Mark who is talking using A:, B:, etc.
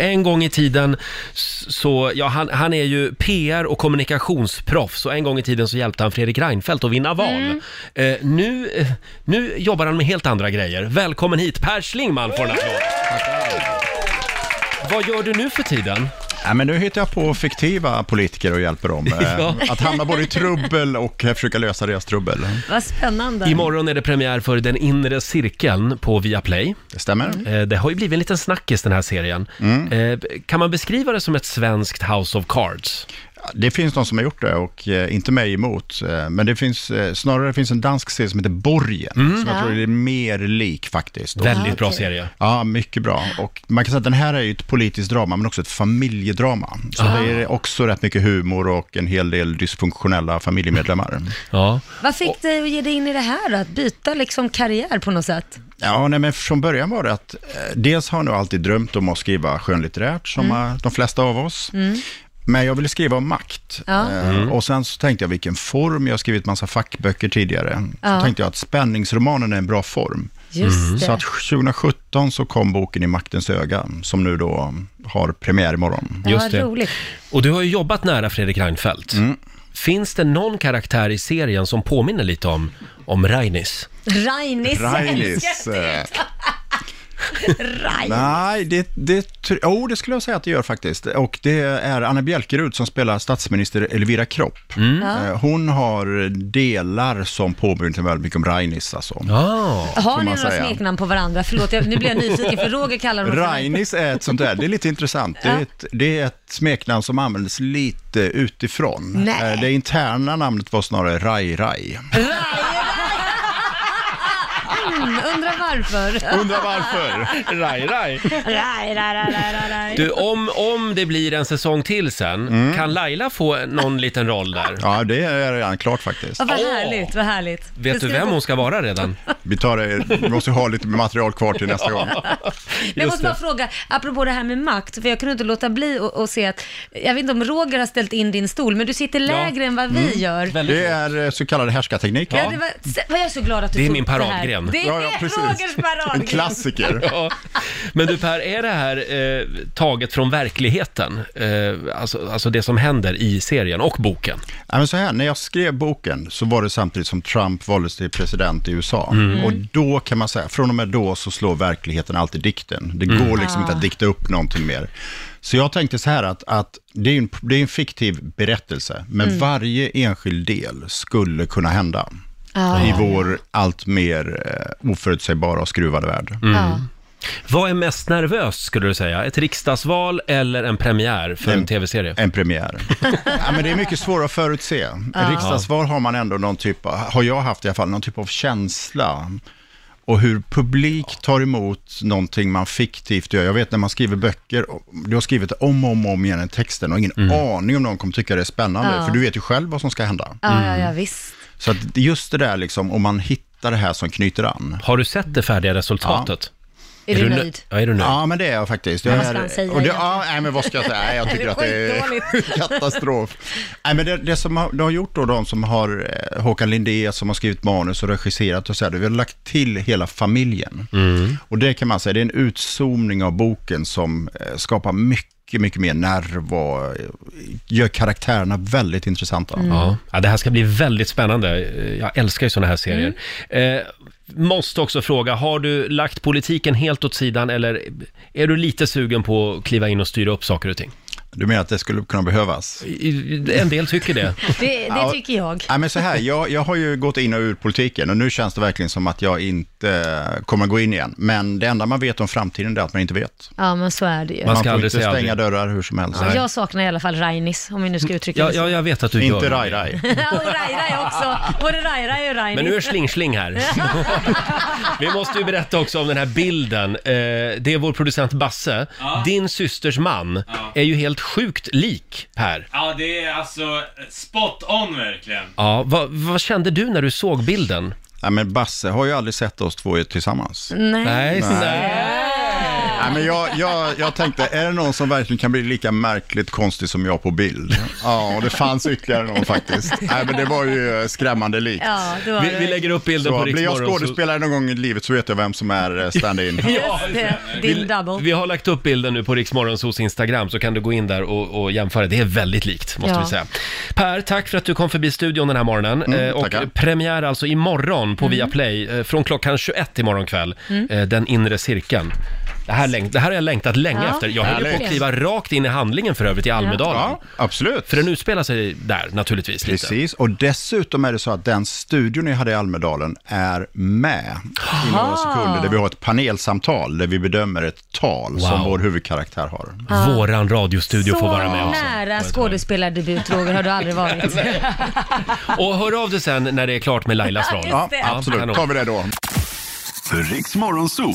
A: en gång i tiden s- så, ja han, han är ju PR och kommunikationsproffs och en gång i tiden så hjälpte han Fredrik Reinfeldt att vinna val. Eh, nu, eh, nu jobbar han med helt andra grejer. Välkommen hit, Per Schlingmann får en applåd. Vad gör du nu för tiden?
B: Nej, men nu hittar jag på fiktiva politiker och hjälper dem. eh,
A: Ja.
B: Att hamna både i trubbel och eh, försöka lösa deras trubbel.
C: Vad spännande.
A: Imorgon är det premiär för Den inre cirkeln på Viaplay.
B: Det stämmer.
A: Eh, Det har ju blivit en liten snackis den här serien. Eh, Kan man beskriva det som ett svenskt House of Cards?
B: Det finns de som har gjort det och eh, inte mig emot. eh, Men det finns, eh, snarare finns en dansk serie som heter Borgen, som jag
C: Ja.
B: tror är mer lik faktiskt. Och-
A: Mm. Väldigt bra
C: okej.
A: serie.
B: Ja, mycket bra. Och man kan säga att den här är ju ett politiskt drama, men också ett familjedrama. Så det är också rätt mycket humor och en hel del dysfunktionella familjemedlemmar.
A: Mm. Ja.
C: Vad fick dig att ge dig in i det här då? Att byta liksom karriär på något sätt?
B: Ja, nej, men från början var det att eh, dels har jag nog alltid drömt om att skriva skönlitterärt, som
C: Mm.
B: eh, de flesta av oss. Men jag ville skriva om makt.
C: Ja. Mm.
B: Eh, Och sen så tänkte jag vilken form, jag har skrivit massa fackböcker tidigare.
C: Ja.
B: Så tänkte jag att spänningsromanen är en bra form.
A: Mm,
C: Just det.
B: Så att 2017 så kom boken I maktens öga, som nu då har premiär imorgon.
C: ja,
A: Just det.
C: roligt.
A: Och du har ju jobbat nära Fredrik Reinfeldt. Finns det någon karaktär i serien som påminner lite om, om Reinis?
C: Rainis.
B: Rainis. eh, Nej, det, det, tr- jo, det skulle jag säga att det gör faktiskt. Och det är Anna Bjälkerud som spelar statsminister Elvira Kropp. Eh, Hon har delar som påminner väldigt mycket om Rainis. Alltså.
A: Ja.
C: Har
B: man
C: ni några
B: säga.
C: smeknamn på varandra? Förlåt, jag, nu blir jag nyfiken för Roger kallar honom för-
B: Rainis är ett sånt där, det är lite intressant. Det är ett, det är ett smeknamn som användes lite utifrån.
C: Nej.
B: Eh, Det interna namnet var snarare Rai Rai.
C: Mm, undrar varför.
B: Undrar varför?
A: Rai, Rai.
C: Raj, raj, raj, raj, raj, raj.
A: Du, om, om det blir en säsong till sen, kan Laila få någon liten roll där?
B: Ja, det är redan klart faktiskt.
C: Åh, vad
A: Åh.
C: härligt, vad härligt.
A: Vet du vem hon ska vara redan?
B: Vi tar det, vi måste ju ha lite material kvar till nästa gång.
C: Men jag
A: Just
C: måste bara
A: det.
C: fråga, apropå det här med makt, för jag kunde inte låta bli att att se att, jag vet inte om Roger har ställt in din stol, men du sitter lägre än vad
A: Mm.
C: vi gör.
A: Väldigt
B: Det är eh, så kallade härskarteknik.
C: Ja, det var, se- var jag så glad att du
A: Det är
C: tog
A: min
C: upp här.
A: paradgren.
C: Det är
B: Ja, ja, precis.
C: Rogers paradgren.
B: En klassiker.
A: Ja. Men du Per, är det här eh, taget från verkligheten? Eh, alltså, alltså det som händer i serien och boken?
B: Ja, men så här, när jag skrev boken så var det samtidigt som Trump valdes till president i USA. Och då kan man säga, från och med då så slår verkligheten alltid dikten. Det går liksom inte att dikta upp någonting mer. Så jag tänkte så här att, att det, är en, det är en fiktiv berättelse, men
C: Mm.
B: varje enskild del skulle kunna hända.
A: Mm.
B: I vår allt mer eh, oförutsägbara och skruvade värld.
C: Ja.
A: Vad är mest nervöst skulle du säga? Ett riksdagsval eller en premiär för en
B: En-
A: tv-serie?
B: En premiär. ja, men det är mycket svårare att förutse. En riksdagsval har man ändå någon typ av, har jag haft i alla fall, någon typ av känsla. Och hur publik tar emot någonting man fiktivt gör. Jag vet när man skriver böcker, och du har skrivit om och om, och om igen i texten och ingen aning om någon kommer tycka det är spännande.
C: Ja.
B: För du vet ju själv vad som ska hända.
C: Ja,
A: Mm.
C: ja, ja, visst.
B: Så att just det där liksom, om man hittar det här som knyter an.
A: Har du sett det färdiga resultatet?
C: Är, du
A: nö-
C: nöjd?
A: Ja, är du nöjd?
B: Ja, men det är jag faktiskt. Jag
C: Vad ska
B: är-
C: han säga
B: och det,
C: egentligen?
B: ja, nej, men vad ska jag säga? Nej, jag tycker att det är
C: Skitdåligt.
B: katastrof. Nej, men det, det som har, de har gjort då, de som har eh, Håkan Lindé som har skrivit manus och regisserat och så här, vi har lagt till hela familjen. Och det kan man säga, det är en utzoomning av boken som eh, skapar mycket, mycket mer nerv och eh, gör karaktärerna väldigt intressanta.
C: Mm.
A: Ja. ja, det här ska bli väldigt spännande. Eh, Jag älskar ju sådana här serier.
C: Mm.
A: Eh, måste också fråga, har du lagt politiken helt åt sidan eller är du lite sugen på att kliva in och styra upp saker och ting?
B: Du menar att det skulle kunna behövas?
A: I- i- En del tycker det.
C: Det, det
B: Ja.
C: tycker jag.
B: Nej, men så här, jag, jag har ju gått in och ur politiken och nu känns det verkligen som att jag inte eh, kommer gå in igen. Men det enda man vet om framtiden är att man inte vet.
C: Ja, men så är det ju.
A: Man
B: Man
A: ska
B: får
A: aldrig
B: inte
A: säga
B: stänga
A: aldrig.
B: dörrar hur som helst.
C: Jag saknar i alla fall Rainis, om vi nu ska uttrycka
A: Ja,
C: det så.
A: ja, jag vet att du gör
B: Inte
A: det.
B: Rai Rai.
C: Ja, och Rai-Rai också. Både Rai-Rai och Rainis.
A: Men nu är Sling-Sling här. Vi måste ju berätta också om den här bilden. Eh, det är vår producent Basse. Din systers man är ju helt sjukt lik här.
D: Ja, det är alltså spot on verkligen.
A: Ja, vad, vad kände du när du såg bilden?
B: Nej, men Basse har ju aldrig sett oss två tillsammans.
C: Nej.
A: Nej, nej.
B: Nej, men jag, jag, jag tänkte, är det någon som verkligen kan bli lika märkligt konstig som jag på bild? Ja, och det fanns ytterligare någon faktiskt. Nej, men det var ju eh, skrämmande likt.
C: Ja, det var
A: Vi,
C: det.
A: vi lägger upp bilden på
B: Så, blir jag
A: Riksmorgon. så-
B: skådespelare någon gång i livet så vet jag vem som är eh, stand-in.
A: Ja,
C: Just det, din double.
A: Vi har lagt upp bilden nu på Riksmorgonsos Instagram så kan du gå in där och, och jämföra. Det är väldigt likt måste
C: Ja.
A: vi säga. Per, tack för att du kom förbi studion den här morgonen. Eh, och
B: Mm, tackar.
A: premiär alltså imorgon
C: Mm.
A: på Viaplay eh, från klockan 21 imorgon kväll. Eh, den inre cirkeln. Det här, läng- det här har jag längtat länge
C: Ja,
A: efter. Jag höll ju på att
C: verkligen.
A: kliva rakt in i handlingen för övrigt i Almedalen.
B: Ja, absolut.
A: För den utspelar sig där naturligtvis lite.
B: Precis, och dessutom är det så att den studion jag hade i Almedalen är med i några sekunder där vi har ett panelsamtal där vi bedömer ett tal som
A: Wow.
B: vår huvudkaraktär har.
A: Våran radiostudio
C: Ah. Så
A: får vara med alltså. också.
C: nära skådespelardebut, Roger, har du aldrig varit.
A: Och hör av dig sen när det är klart med Lailas roll.
B: Ja,
C: det.
A: kanon.
B: absolut. Tar vi det då.
E: Riks Morgonzoo.